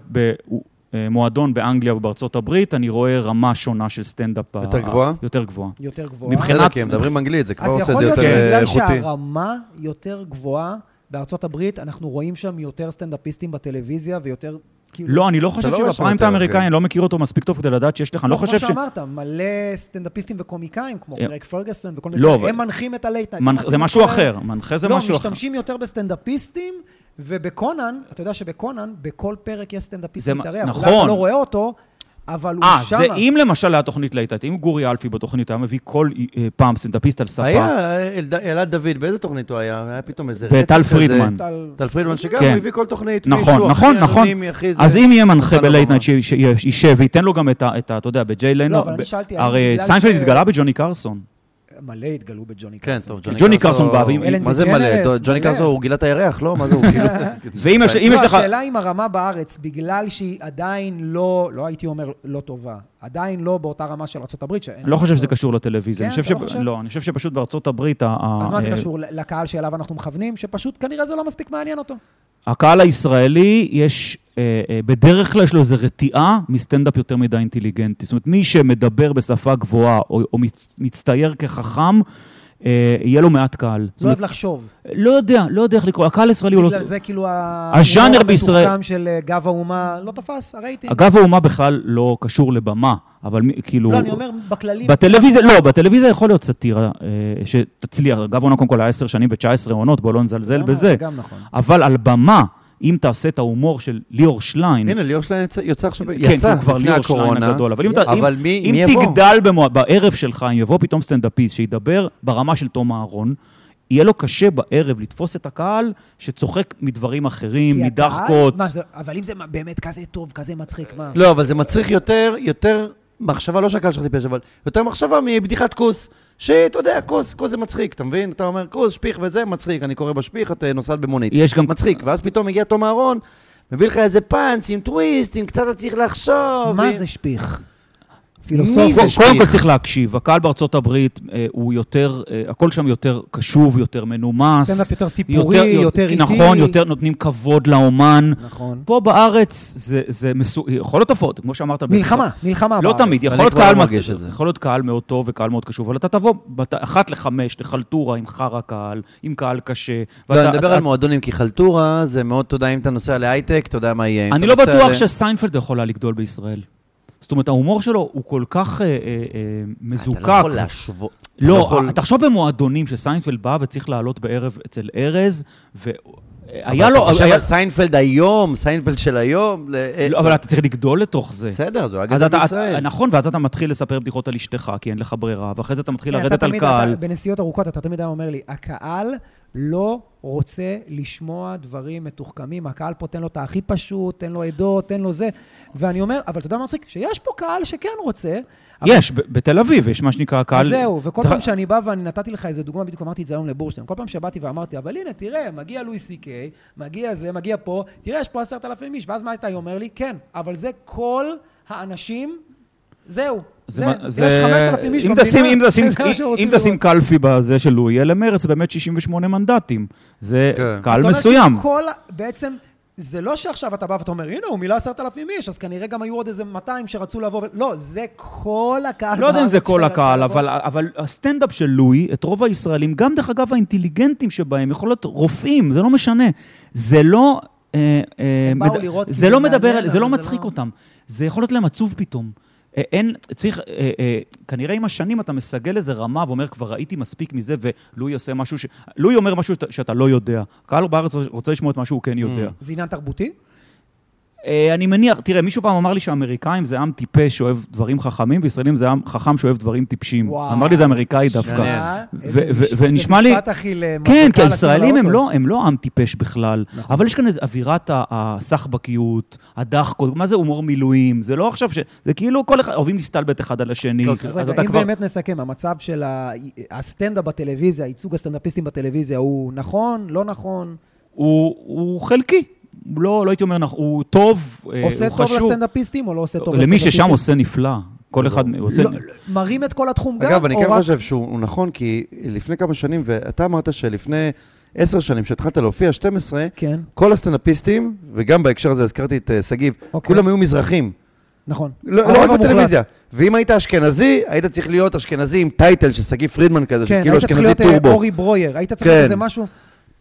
במועדון באנגליה ובארצות הברית, אני רואה רמה שונה של סטנדאפ. ב-
יותר גבוהה?
יותר גבוהה.
יותר גבוהה.
מבחינת-
מבחינת... כי הם מדברים אנגלית, זה כבר
אז
עושה את
יכול
זה
להיות
יותר אה,
שבגלל
איכותי.
שהרמה יותר גבוהה בארצות הברית, אנחנו רואים שם יותר סטנדאפיסטים בטלוויזיה ויותר, כאילו...
לא, אני לא חושב
לא רואה שם
שבפריים
יותר,
טיים האמריקאי,
כן.
אני לא מכיר אותו מספיק טוב כדי לדעת שיש לך, אני לא חושב
אוקיי. כמו
ש...
שאמרת, מלא סטנדאפיסטים וקומיקאים, כמו
אה,
קרק פרגוסון וכל
לא,
מיני, כאלה,
אבל-
הם מנחים את הלייט נייט.
מנ-
הם עושים
זה
את
משהו
כל ה-
אחר, מנחה זה משהו
לא,
אחר.
משתמשים יותר בסטנדאפיסטים, ובקונן, אתה יודע שבקונן, בכל פרק יש סטנדאפיסט
זה מה-
מתארח. אולי
נכון.
אתה לא רואה אותו, אבל הוא
אה,
שמה.
זה אם למשל היה תוכנית להיטת, אם גורי אלפי בתוכנית היה מביא כל אה, פעם סטנדאפיסט על ספה.
היה אה, אלד- אלעד דוד, באיזה תוכנית הוא היה? היה פתאום איזה...
בטל
רצף
פרידמן.
כזה.
טל-
טל פרידמן, שגם
כן.
הוא הביא כל תוכנית.
נכון,
מישהו
נכון,
אחר,
נכון.
אנונימי, אחי, זה- אוקיי,
אז אם יהיה
נתן
מנחה
לא
לו
בלייט
במה.
נייט שישב וייתן לו גם את ה- את ה... אתה יודע, בג'יי לנו...
אבל אני שאלתי, האם
הרי
בגלל
סיינפלד
ש-
התגלה בג'וני קרסון.
מלא התגלו בג'וני
כן,
קרסון.
טוב,
ג'וני קרסון בא, ואם-
מה זה
אלן
מלא? ג'וני
דג'נרס,
קרסון
מלא.
הוא גילה את הירח, לא? מה זה, הוא כאילו...
ואם יש- אם
לא,
יש לך...
השאלה אם הרמה בארץ, בגלל שהיא עדיין לא, לא הייתי אומר לא טובה, עדיין לא באותה רמה של ארה"ב, שאין...
אני לא חושב שזה קשור לטלוויזיה. אני
כן,
חושב
אתה לא
ש...
חושב?
לא, אני חושב שפשוט בארצות הברית... ה- ה-
אז מה זה
אה,
קשור ל- לקהל שאליו אנחנו מכוונים? שפשוט כנראה זה לא מספיק מעניין אותו.
אה, הקהל הישראלי, יש, אה, אה, בדרך כלל יש לו איזו רתיעה מסטנדאפ יותר מדי אינטליגנטי. זאת אומרת, מי שמדבר בשפה גבוהה או, או מצ, מצטייר כחכם, אה, יהיה לו מעט קהל. זאת
לא אוהב
אומרת,
לחשוב.
לא יודע, לא יודע איך לקרוא, הקהל הישראלי הוא לא...
בגלל זה כאילו ה-
הז'אנר
ההומור
בישראל-
המתוחכם של אה, גב האומה לא תפס, הרייטינג.
אגב, האומה בכלל לא קשור לבמה, אבל מי- כאילו...
לא, אני אומר בכללי,
בטלוויזיה, לא, בטלוויזיה יכול להיות סאטירה אה, שתצליח. אגב, עונה קודם כל היה 10 שנים ו-19 עונות, בואו לא נזלזל
אה,
בזה.
זה גם נכון.
אבל על במה, אם תעשה את ההומור של ליאור שליין,
הנה, ליאור שלהם יצא- יצא עכשיו,
כן,
יצא
הוא כבר
לפני
ליאור שליין
הקורונה.
הגדול. אבל אם, אתה,
אבל
אם,
מי
אם
מי יבוא?
תגדל במו, בערב שלך, אם יבוא פתאום סטנדאפיסט שידבר ברמה של תום אהרון, יהיה לו קשה בערב לתפוס את הקהל שצוחק מדברים אחרים,
כי הקהל-
מדחקות.
מה זה- אבל אם זה באמת כזה טוב, כזה מצחיק, מה?
לא, אבל זה מצריך יותר, יותר מחשבה, לא שהקהל שלך טיפש, אבל יותר מחשבה מבדיחת כוס. שאתה יודע, כוס, כוס זה מצחיק, אתה מבין? אתה אומר, כוס, שפיך וזה, מצחיק. אני קורא בשפיך, את אה, נוסעת במונית.
יש גם-
מצחיק. ואז פתאום מגיע תום אהרון,
לא,
מביא לך איזה פאנץ' עם טוויסט, עם קצת אתה צריך לחשוב.
מה
עם-
זה שפיך? פילוסופי.
קודם-
שפיך?
לא, קודם כל צריך להקשיב. הקהל בארצות הברית אה, הוא יותר, אה, הכל שם יותר קשוב, יותר
סטנדאפ
מנומס.
יותר סיפורי, יותר איטי.
נכון, יותר נותנים כבוד לאומן.
נכון.
פה בארץ זה, זה מסו... יכול להיות הפרעות, כמו שאמרת.
מלחמה, מלחמה.
לא
בארץ.
תמיד, יכול
אני
להיות
כבר
קהל
לא
מאוד-
מרגיש את זה.
יכול להיות קהל מאוד טוב וקהל מאוד קשוב, אבל אתה תבוא בת- אחת לחמש, לחלטורה עם חרא קהל, עם קהל קשה.
לא,
ואתה-
אני מדבר
אתה-
על מועדונים, כי חלטורה זה מאוד, אתה יודע, אם אתה נוסע להייטק, אתה יודע מה יהיה. אם
אני
אתה
לא
נוסע
בטוח
ל-
שסיינפלד יכול היה לגדול בישראל. זאת אומרת, ההומור שלו הוא כל כך אה, אה, אה, מזוקק.
אתה לא יכול להשוות. אתה
לא,
יכול-
תחשוב במועדונים שסיינפלד בא וצריך לעלות בערב אצל ארז, והיה
אבל
לו...
אתה חושב
היה-
על סיינפלד היום, סיינפלד של היום. ל- אה,
לא, אבל אתה צריך לגדול לתוך זה.
בסדר, זו
אז
אגדה
אתה,
בישראל.
נכון, ואז אתה מתחיל לספר בדיחות על אשתך, כי אין לך ברירה, ואחרי זה אתה מתחיל
כן, אתה
לרדת על
תמיד-
קהל.
אתה- בנסיעות ארוכות אתה תמיד היה אומר לי, הקהל לא רוצה לשמוע דברים מתוחכמים, הקהל פה תן לו את הכי פשוט, תן לו עדות, תן לו זה. ואני אומר, אבל אתה יודע מה מצחיק? שיש פה קהל שכן רוצה. אבל-
יש, ב- בתל אביב יש מה שנקרא קהל...
אז זהו, וכל
אתה-
פעם שאני בא ואני נתתי לך איזה דוגמה, בדיוק אמרתי את זה היום לבורשטיין, כל פעם שבאתי ואמרתי, אבל הנה, תראה, מגיע לואי סי קיי, מגיע זה, מגיע פה, תראה, יש פה עשרת אלפים איש, ואז מה אתה אומר לי? כן, אבל זה כל האנשים, זהו.
זה
זה,
מה-
יש
זה-
5,000 איש
אם
במדינה,
תשים- אם תשים-
זה מה שרוצים
אם תשים
לראות.
קלפי בזה של לואי, יהיה למרץ באמת 68 מנדטים. זה
כן.
קהל
זאת אומרת,
מסוים.
כל, בעצם, זה לא שעכשיו אתה בא ואתה אומר, הנה, הוא מילא עשרת אלפים איש, אז כנראה גם היו עוד איזה 200 שרצו לבוא, ו- לא, זה כל הקהל.
לא יודע אם זה
בארץ
כל
שרצה
הקהל,
לבוא.
אבל, אבל הסטנדאפ של לואי, את רוב הישראלים, גם דרך אגב האינטליגנטים שבהם, יכול להיות רופאים, זה לא משנה. זה לא... אה, אה,
הם באו לראות כי
זה
זה
לא מדבר,
מעניין,
זה לא
אבל זה
מצחיק
לא-
אותם. זה יכול להיות להם עצוב פתאום. אה, אין, צריך, אה, אה, כנראה עם השנים אתה מסגל איזה רמה ואומר, כבר ראיתי מספיק מזה, ולואי עושה משהו ש... לואי אומר משהו שאתה, שאתה לא יודע. הקהל בארץ רוצה לשמוע את מה שהוא כן יודע.
זה עניין תרבותי?
אה, אני מניח, תראה, מישהו פעם אמר לי שהאמריקאים זה עם טיפש שאוהב דברים חכמים, וישראלים זה עם חכם שאוהב דברים טיפשים.
וואו.
אמר לי זה אמריקאי
מעניין.
דווקא.
אה,
ו-
איזה
ו-
מש-
ונשמע
זה
לי-
משפט הכי למחלקה
כן, כי
לשים על
הישראלים הם
האוטו.
לא, הם לא עם טיפש בכלל,
נכון.
אבל יש כאן איזו אווירת ה- הסחבקיות, הדחקות, מה זה הומור מילואים? זה לא עכשיו ש... זה כאילו כל אחד, אוהבים להסתלבט אחד על השני.
לא, אז
אז
רגע,
אתה
אם
כבר...
באמת נסכם, המצב של ה- הסטנדאפ בטלוויזיה, ייצוג הסטנדאפיסטים בטלוויזיה, הוא נכון, לא נכון,
הוא הוא חלקי. הוא לא לא הייתי אומר, נכון, הוא טוב, אה, הוא חשוב.
עושה טוב לסטנדאפיסטים או לא עושה טוב
למי
לסטנדאפיסטים?
ששם עושה נפלא. כל אחד עושה...
לא, לא, מרים את כל התחום גם?
אגב, אני
או
כן
רק-
חושב שהוא הוא נכון, כי לפני כמה שנים, ואתה אמרת שלפני עשר שנים, כשהתחלת להופיע, 12,
כן,
כל הסטנדאפיסטים, וגם בהקשר הזה הזכרתי את אה, שגיב,
אוקיי.
כולם היו מזרחים.
נכון.
לא
הרוב
לא רק
המוחלט.
בטלוויזיה. ואם היית אשכנזי, היית צריך להיות אשכנזי עם טייטל של שגיא פרידמן כזה,
כן,
שכאילו
היית צריך
כאילו אשכנזי
להיות אה,
טורבו.
אורי ברויר, היית צריך להיות
כן.
איזה משהו?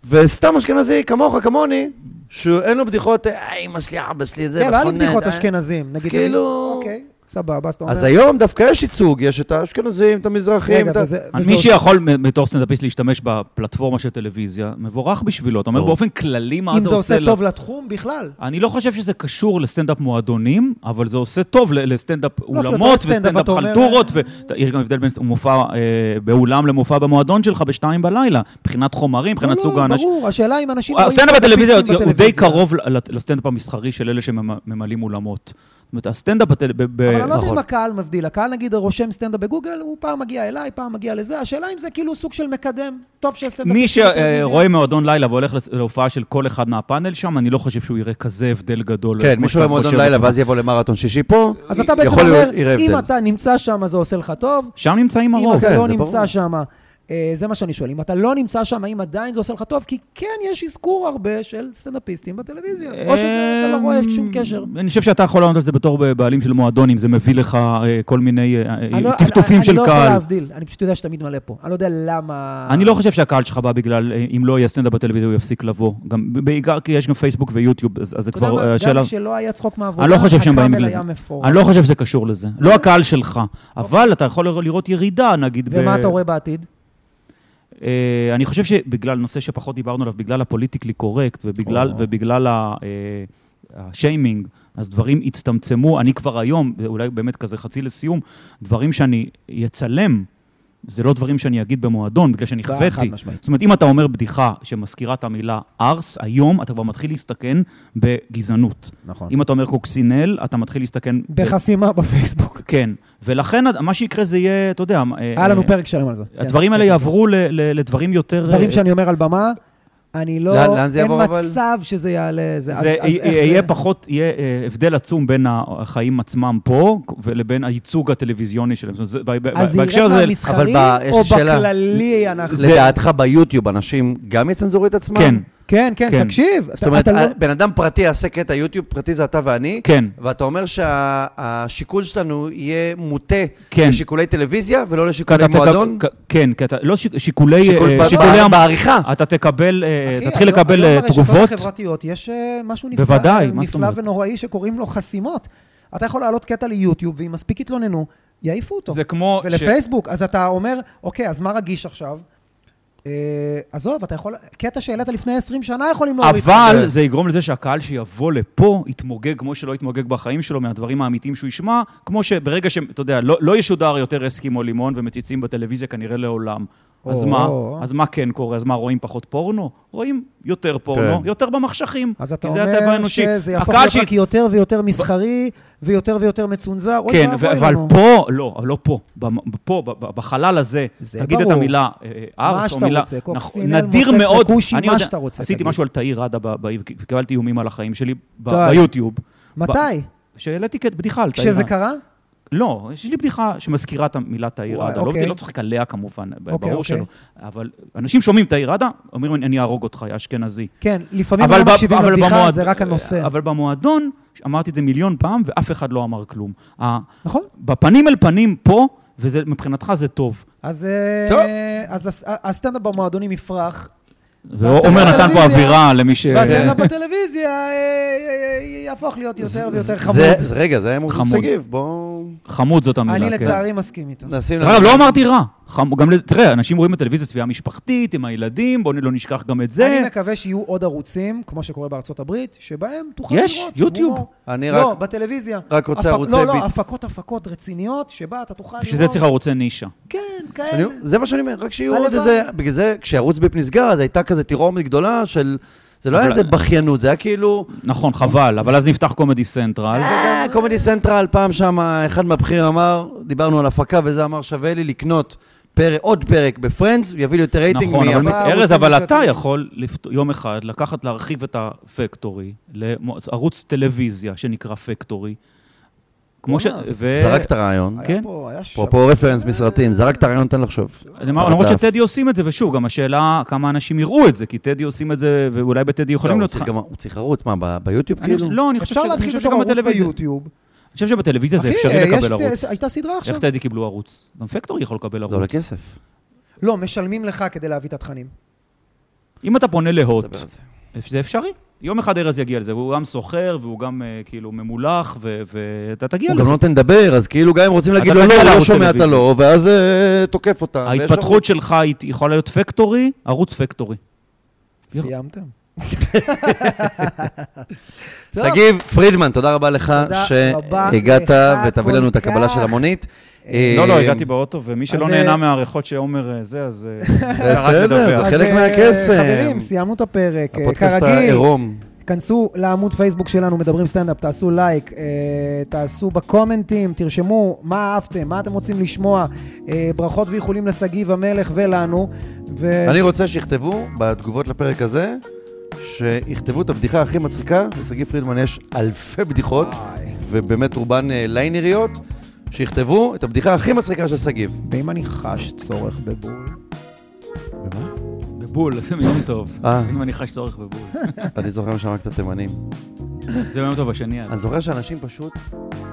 וסתם אשכנזי, כמוך, כמוני, שאין לו בדיחות, אה, אמא שלי, אבא שלי, זה,
כן, לא היה לי
נכון,
בדיחות
אה,
אשכנזים,
אז
נגיד.
כאילו-
אוקיי, סבבה, אז אתה אומר...
אז היום דווקא יש ייצוג, יש את האשכנזים, את המזרחים,
רגע,
את ה...
וזה-
אז
וזה
מי
עוד-
שיכול מ- בתור סטנדאפיסט להשתמש בפלטפורמה של טלוויזיה, מבורך בשבילו. אתה אומר
ברור.
באופן כללי מה
אם
זה
זה עושה
עושה ל-
טוב לתחום בכלל.
אני לא חושב שזה קשור לסטנדאפ מועדונים, אבל זה עושה טוב ל- לסטנדאפ
לא
אולמות
סטנדאפ,
וסטנדאפ
אתה אומר-
חלטורות, ויש גם הבדל בין מופע אה, באולם למופע במועדון שלך בשתיים בלילה, מבחינת חומרים, מבחינת
לא,
סוג
לא,
האנשים.
ברור, השאלה אם אנשים... רואים
הסטנדאפ בטלוויזיה הוא-
סטנדאפיסטים
הוא די
בטלוויזיה.
קרוב ל- ל- לסטנדאפ המסחרי של אלה שממלאים אולמות. זאת אומרת, הסטנדאפ... בטל- ב- ב-
אבל אני לא יודע
נכון.
אם הקהל מבדיל. הקהל נגיד רושם סטנדאפ בגוגל, הוא פעם מגיע אליי, פעם מגיע לזה. השאלה אם זה כאילו סוג של מקדם. טוב שהסטנדאפ...
מי אה, שרואה מועדון לילה והולך לס- להופעה של כל אחד מהפאנל שם, אני לא חושב שהוא יראה כזה הבדל גדול.
כן,
כמו
מי
שאתה
שאוהב מועדון
חושב.
לילה ואז יבוא למרתון שישי פה,
אז אתה בעצם
יכול
אומר,
להיות, יראה
אם
הבדל.
אתה נמצא שם, אז זה עושה לך טוב.
שם נמצאים
אם
הרוב.
כן,
אתה לא
זה
נמצא
ברור.
שם, אה, זה מה שאני שואל. אם אתה לא נמצא שם, האם עדיין זה עושה לך טוב? כי כן, יש אזכור הרבה של סטנדאפיסטים בטלוויזיה. או שזה, אתה לא רואה שום קשר.
אה, אני חושב שאתה יכול לענות על זה בתור בעלים של מועדון, אם זה מביא לך אה, כל מיני אה,
אני לא-
טפטופים
אני-
של
אני לא יכול
קהל.
להבדיל, אני פשוט יודע שתמיד מלא פה. אני לא יודע למה...
אני לא חושב שהקהל שלך בא בגלל, אה, אם לא יהיה סטנדאפ בטלוויזיה, הוא יפסיק לבוא. גם בעיקר כי יש גם פייסבוק ויוטיוב, אז אז זה
אתה יודע
כבר
מה,
אה, שאלה...
גם כשלא היה צחוק מהעבודה,
אני לא חושב שהם באים
הקאמל
בגלל
היה
זה.
מפורק.
אני לא חושב שזה קשור לזה. לא הקהל שלך, אבל אתה יכול לראות ירידה, נגיד... ב-
ומה אתה רואה בעתיד?
אה, אני חושב שבגלל נושא שפחות דיברנו עליו, בגלל הפוליטיקלי קורקט ובגלל,
או.
ובגלל ה, אה, השיימינג, אז דברים הצטמצמו. אני כבר היום, אולי באמת כזה חצי לסיום, דברים שאני אצלם, זה לא דברים שאני אגיד במועדון, בגלל שאני
אה, חד
חוויתי.
משמעית.
זאת אומרת, אם אתה אומר בדיחה שמזכירה את המילה ארס, היום אתה כבר מתחיל להסתכן בגזענות.
נכון.
אם אה, אתה אומר קוקסינל, אתה מתחיל להסתכן... ב-
בחסימה בפייסבוק.
כן. ולכן מה שיקרה זה יהיה, אתה יודע... אה,
היה לנו
אה,
פרק שלם על זה.
הדברים
כן,
האלה
כן,
יעברו ל- ל- לדברים יותר...
כן. דברים
אה,
שאני אומר על במה, אני לא...
לאן- לאן זה יעבור, אבל?
אין מצב שזה יעלה... זה,
זה אה,
אז, אז איך
יהיה
זה...
פחות, יהיה אה, הבדל עצום בין החיים עצמם פה ולבין הייצוג הטלוויזיוני שלהם. זאת אומרת, זה- ב- ב-
אז זה
בהקשר
ירד
הזה...
אבל
מהמסחרים,
ב- יש
או
שאלה.
בכללי אנחנו...
זה... לדעתך ביוטיוב אנשים גם יצנזרו את עצמם?
כן,
כן, כן,
כן.
תקשיב.
זאת אומרת,
אתה לא...
בן אדם פרטי יעשה קטע יוטיוב, פרטי זה אתה ואני,
כן.
ואתה אומר שהשיקול שלנו יהיה מוטה
כן.
לשיקולי טלוויזיה ולא
כי אתה
לשיקולי
תקב-
מועדון?
כ- כן, כי אתה... לא שיק- שיקולי...
שיקול
אה,
ב-
שיקולי...
ב-
המ-
בעריכה.
אתה תקבל... אה,
אחי, לא-
תתחיל
היום-
לקבל
היום
אה,
ברשתות
תגובות.
החברתיות יש אה, משהו נפלא,
בוודאי, מה זאת
נפלא
אומרת?
ונוראי שקוראים לו חסימות. אתה יכול להעלות קטע ליוטיוב, ואם מספיק יתלוננו, יעיפו אותו.
זה כמו... ש-
ולפייסבוק, אז אתה אומר, אוקיי, אז מה רגיש עכשיו? אה, עזוב, אתה יכול... קטע שהעלית לפני 20 שנה יכולים להוריד.
אבל
כן.
זה יגרום לזה שהקהל שיבוא לפה יתמוגג כמו שלא יתמוגג בחיים שלו מהדברים האמיתיים שהוא ישמע, כמו שברגע ש... אתה יודע, לא, לא ישודר יותר אסקימו לימון ומציצים בטלוויזיה כנראה לעולם. אז
או.
מה? אז מה כן קורה? אז מה, רואים פחות פורנו? רואים יותר פורנו,
כן.
יותר במחשכים.
אז אתה
כי זה הטבע
אומר
האנושי.
שזה יהפוך
הקהל
להיות
שי-
רק יותר ויותר מסחרי, ויותר ויותר מצונזר. אוי
כן,
ואבוי
ו- אבל
לנו.
פה, לא, אבל לא פה, במ- פה, ב- ב- בחלל הזה,
זה
תגיד את
ברור.
המילה אה,
מה
ארס או
שאתה
מילה,
רוצה,
נכון,
קוקסינל,
נדיר
מוצץ
מאוד,
לכושי,
אני
מה
יודע,
שאתה רוצה,
עשיתי
תגיד.
משהו על תאיר ראדה ב- בעיר, כי קיבלתי איומים על החיים שלי ב-
די.
ביוטיוב.
מתי?
שהעליתי כת- בדיחה על תאיר
כשזה
ראדה.
קרה?
לא, יש לי בדיחה שמזכירה את המילה תאיר
וואי,
ראדה, לא-
אוקיי.
לא צוחק עליה כמובן, ב-
אוקיי,
ברור
אוקיי.
שלא, אבל אנשים שומעים תאיר ראדה, אומרים אני אני אהרוג אותך, יא אשכנזי.
כן, לפעמים
אבל
לא
ב-
מקשיבים
אבל
לבדיחה,
במועד-
זה רק הנושא.
אבל במועדון, אמרתי את זה מיליון פעם, ואף אחד לא אמר כלום. ה-
נכון?
בפנים אל פנים פה, ומבחינתך זה טוב.
אז אה,
טוב.
אז הס- הסטנדאפ במועדונים יפרח,
ועומר נתן פה
בטלוויזיה-
אווירה למי ש...
והסטנדאפ בטלוויזיה אה, אה, אה, יהפוך להיות יותר ויותר חמוד.
זה, זה, רגע, זה היה מוזס
חמוד.
שגיב, בואו
חמוד זאת המילה,
אני
כן.
לצערי מסכים איתו.
נשים...
דרך אגב, לא אמרתי רע. חמ- גם לזה- תראה, אנשים רואים בטלוויזיה צביעה משפחתית, עם הילדים, בואו לא נשכח גם את זה.
אני מקווה שיהיו עוד ערוצים, כמו שקורה בארצות הברית, שבהם תוכל לראות.
יש, יוטיוב.
הומור.
אני
לא,
רק-
בטלוויזיה.
רק רוצה
הפק-
ערוצי
לא,
ביט.
לא, הפקות הפקות רציניות, שבה אתה תוכל לראות.
בשביל זה צריך ערוצי נישה.
כן,
אני,
כאלה.
זה מה שאני אומר, רק שיהיו עוד
הלוואי.
איזה... בגלל זה, כשערוץ ביפ נסגר, אז הייתה כזה תרעומת גדולה של... זה לא היה
אבל-
איזה בכיינות, זה היה כאילו...
נכון, חבל, אבל אז נפתח קומדי סנטרל.
אה, קומדי סנטרל, פעם שם אחד מהבכירים אמר, דיברנו על הפקה וזה אמר, שווה לי לקנות פרק- עוד פרק בפרנדס, יביא לי יותר רייטינג
נכון, אבל
מיוון.
מהפקה.
ערוצים
ארז, אבל אתה
יצירתיים.
יכול לפת- יום אחד לקחת, להרחיב את הפקטורי לערוץ טלוויזיה שנקרא פקטורי. כמו ש...
וואלה.
ו-
זרק את הרעיון.
היה
כן.
פה, היה שם.
אפרופו רפרנס מסרטים, זרק את הרעיון, תן לחשוב.
אני אמר, למרות שטדי עושים את זה, ושוב, גם השאלה כמה אנשים יראו את זה, כי טדי עושים את זה, ואולי בטדי
לא,
יכולים
הוא
להיות...
צריך גם- הוא צריך ערוץ, מה, ב- ביוטיוב
אני
כאילו?
חושב- לא, אני חושב ש-
אפשר
אני
להתחיל
חושב
בתור
שגם
ערוץ
בטלוויזיה.
ביוטיוב.
אני חושב שבטלוויזיה זה
אחי,
אפשרי
אה,
לקבל
יש-
ערוץ.
הייתה סדרה עכשיו.
איך טדי קיבלו ערוץ? גם פקטורי יכול לקבל
זה עולה
ערוץ.
כסף.
לא, משלמים לך כדי להביא את התכנים.
אם אתה פונה להוט,
נדבר על זה.
זה אפשרי. יום אחד ארז יגיע לזה, הוא גם סוחר, והוא גם אה, כאילו ממולח, ו- ואתה תגיע
הוא גם
לזה.
לא נותן לדבר, אז כאילו גם אם רוצים להגיד
אתה
לו, לא,
מגיע
הוא לא
לערוץ
שומע, אתה
טלוויזיה.
לא, ואז אה, תוקף אותה. ויש
ההתפתחות
ערוץ.
שלך היא יכולה להיות פקטורי, ערוץ פקטורי. יו.
סיימתם? טוב,
שגיב פרידמן, תודה רבה לך
תודה רבה
שהגעת
לך
ותביא לנו את
כל
הקבלה
כך.
של המונית.
לא, לא,
אה,
הגעתי באוטו, ומי שלא
אז,
נהנה
אה,
מהריחות שעומר אה, זה, אז... אה,
בסדר,
ירד לדווח.
זה
אז,
חלק
אה,
מהקסם.
חברים, סיימנו את הפרק. אה,
הפודקאסט
כרגיל,
העירום.
כנסו לעמוד פייסבוק שלנו, מדברים סטנדאפ, תעשו לייק, אה, תעשו בקומנטים, תרשמו מה אהבתם, מה אתם רוצים לשמוע. אה, ברכות ואיחולים לשגיב המלך ולנו. ו-
אני רוצה שיכתבו בתגובות לפרק הזה, שיכתבו את הבדיחה הכי מצחיקה. לשגיא פרידמן יש אלפי בדיחות,
וואי.
ובאמת רובן אה, ליינריות. שיכתבו את הבדיחה הכי מצחיקה של שגיב.
ואם אני חש צורך בבול?
במה?
בבול, זה מיום טוב.
אה.
אם אני חש צורך בבול.
אני זוכר שם רק את התימנים.
זה מיום טוב השני. אז.
אני זוכר שאנשים פשוט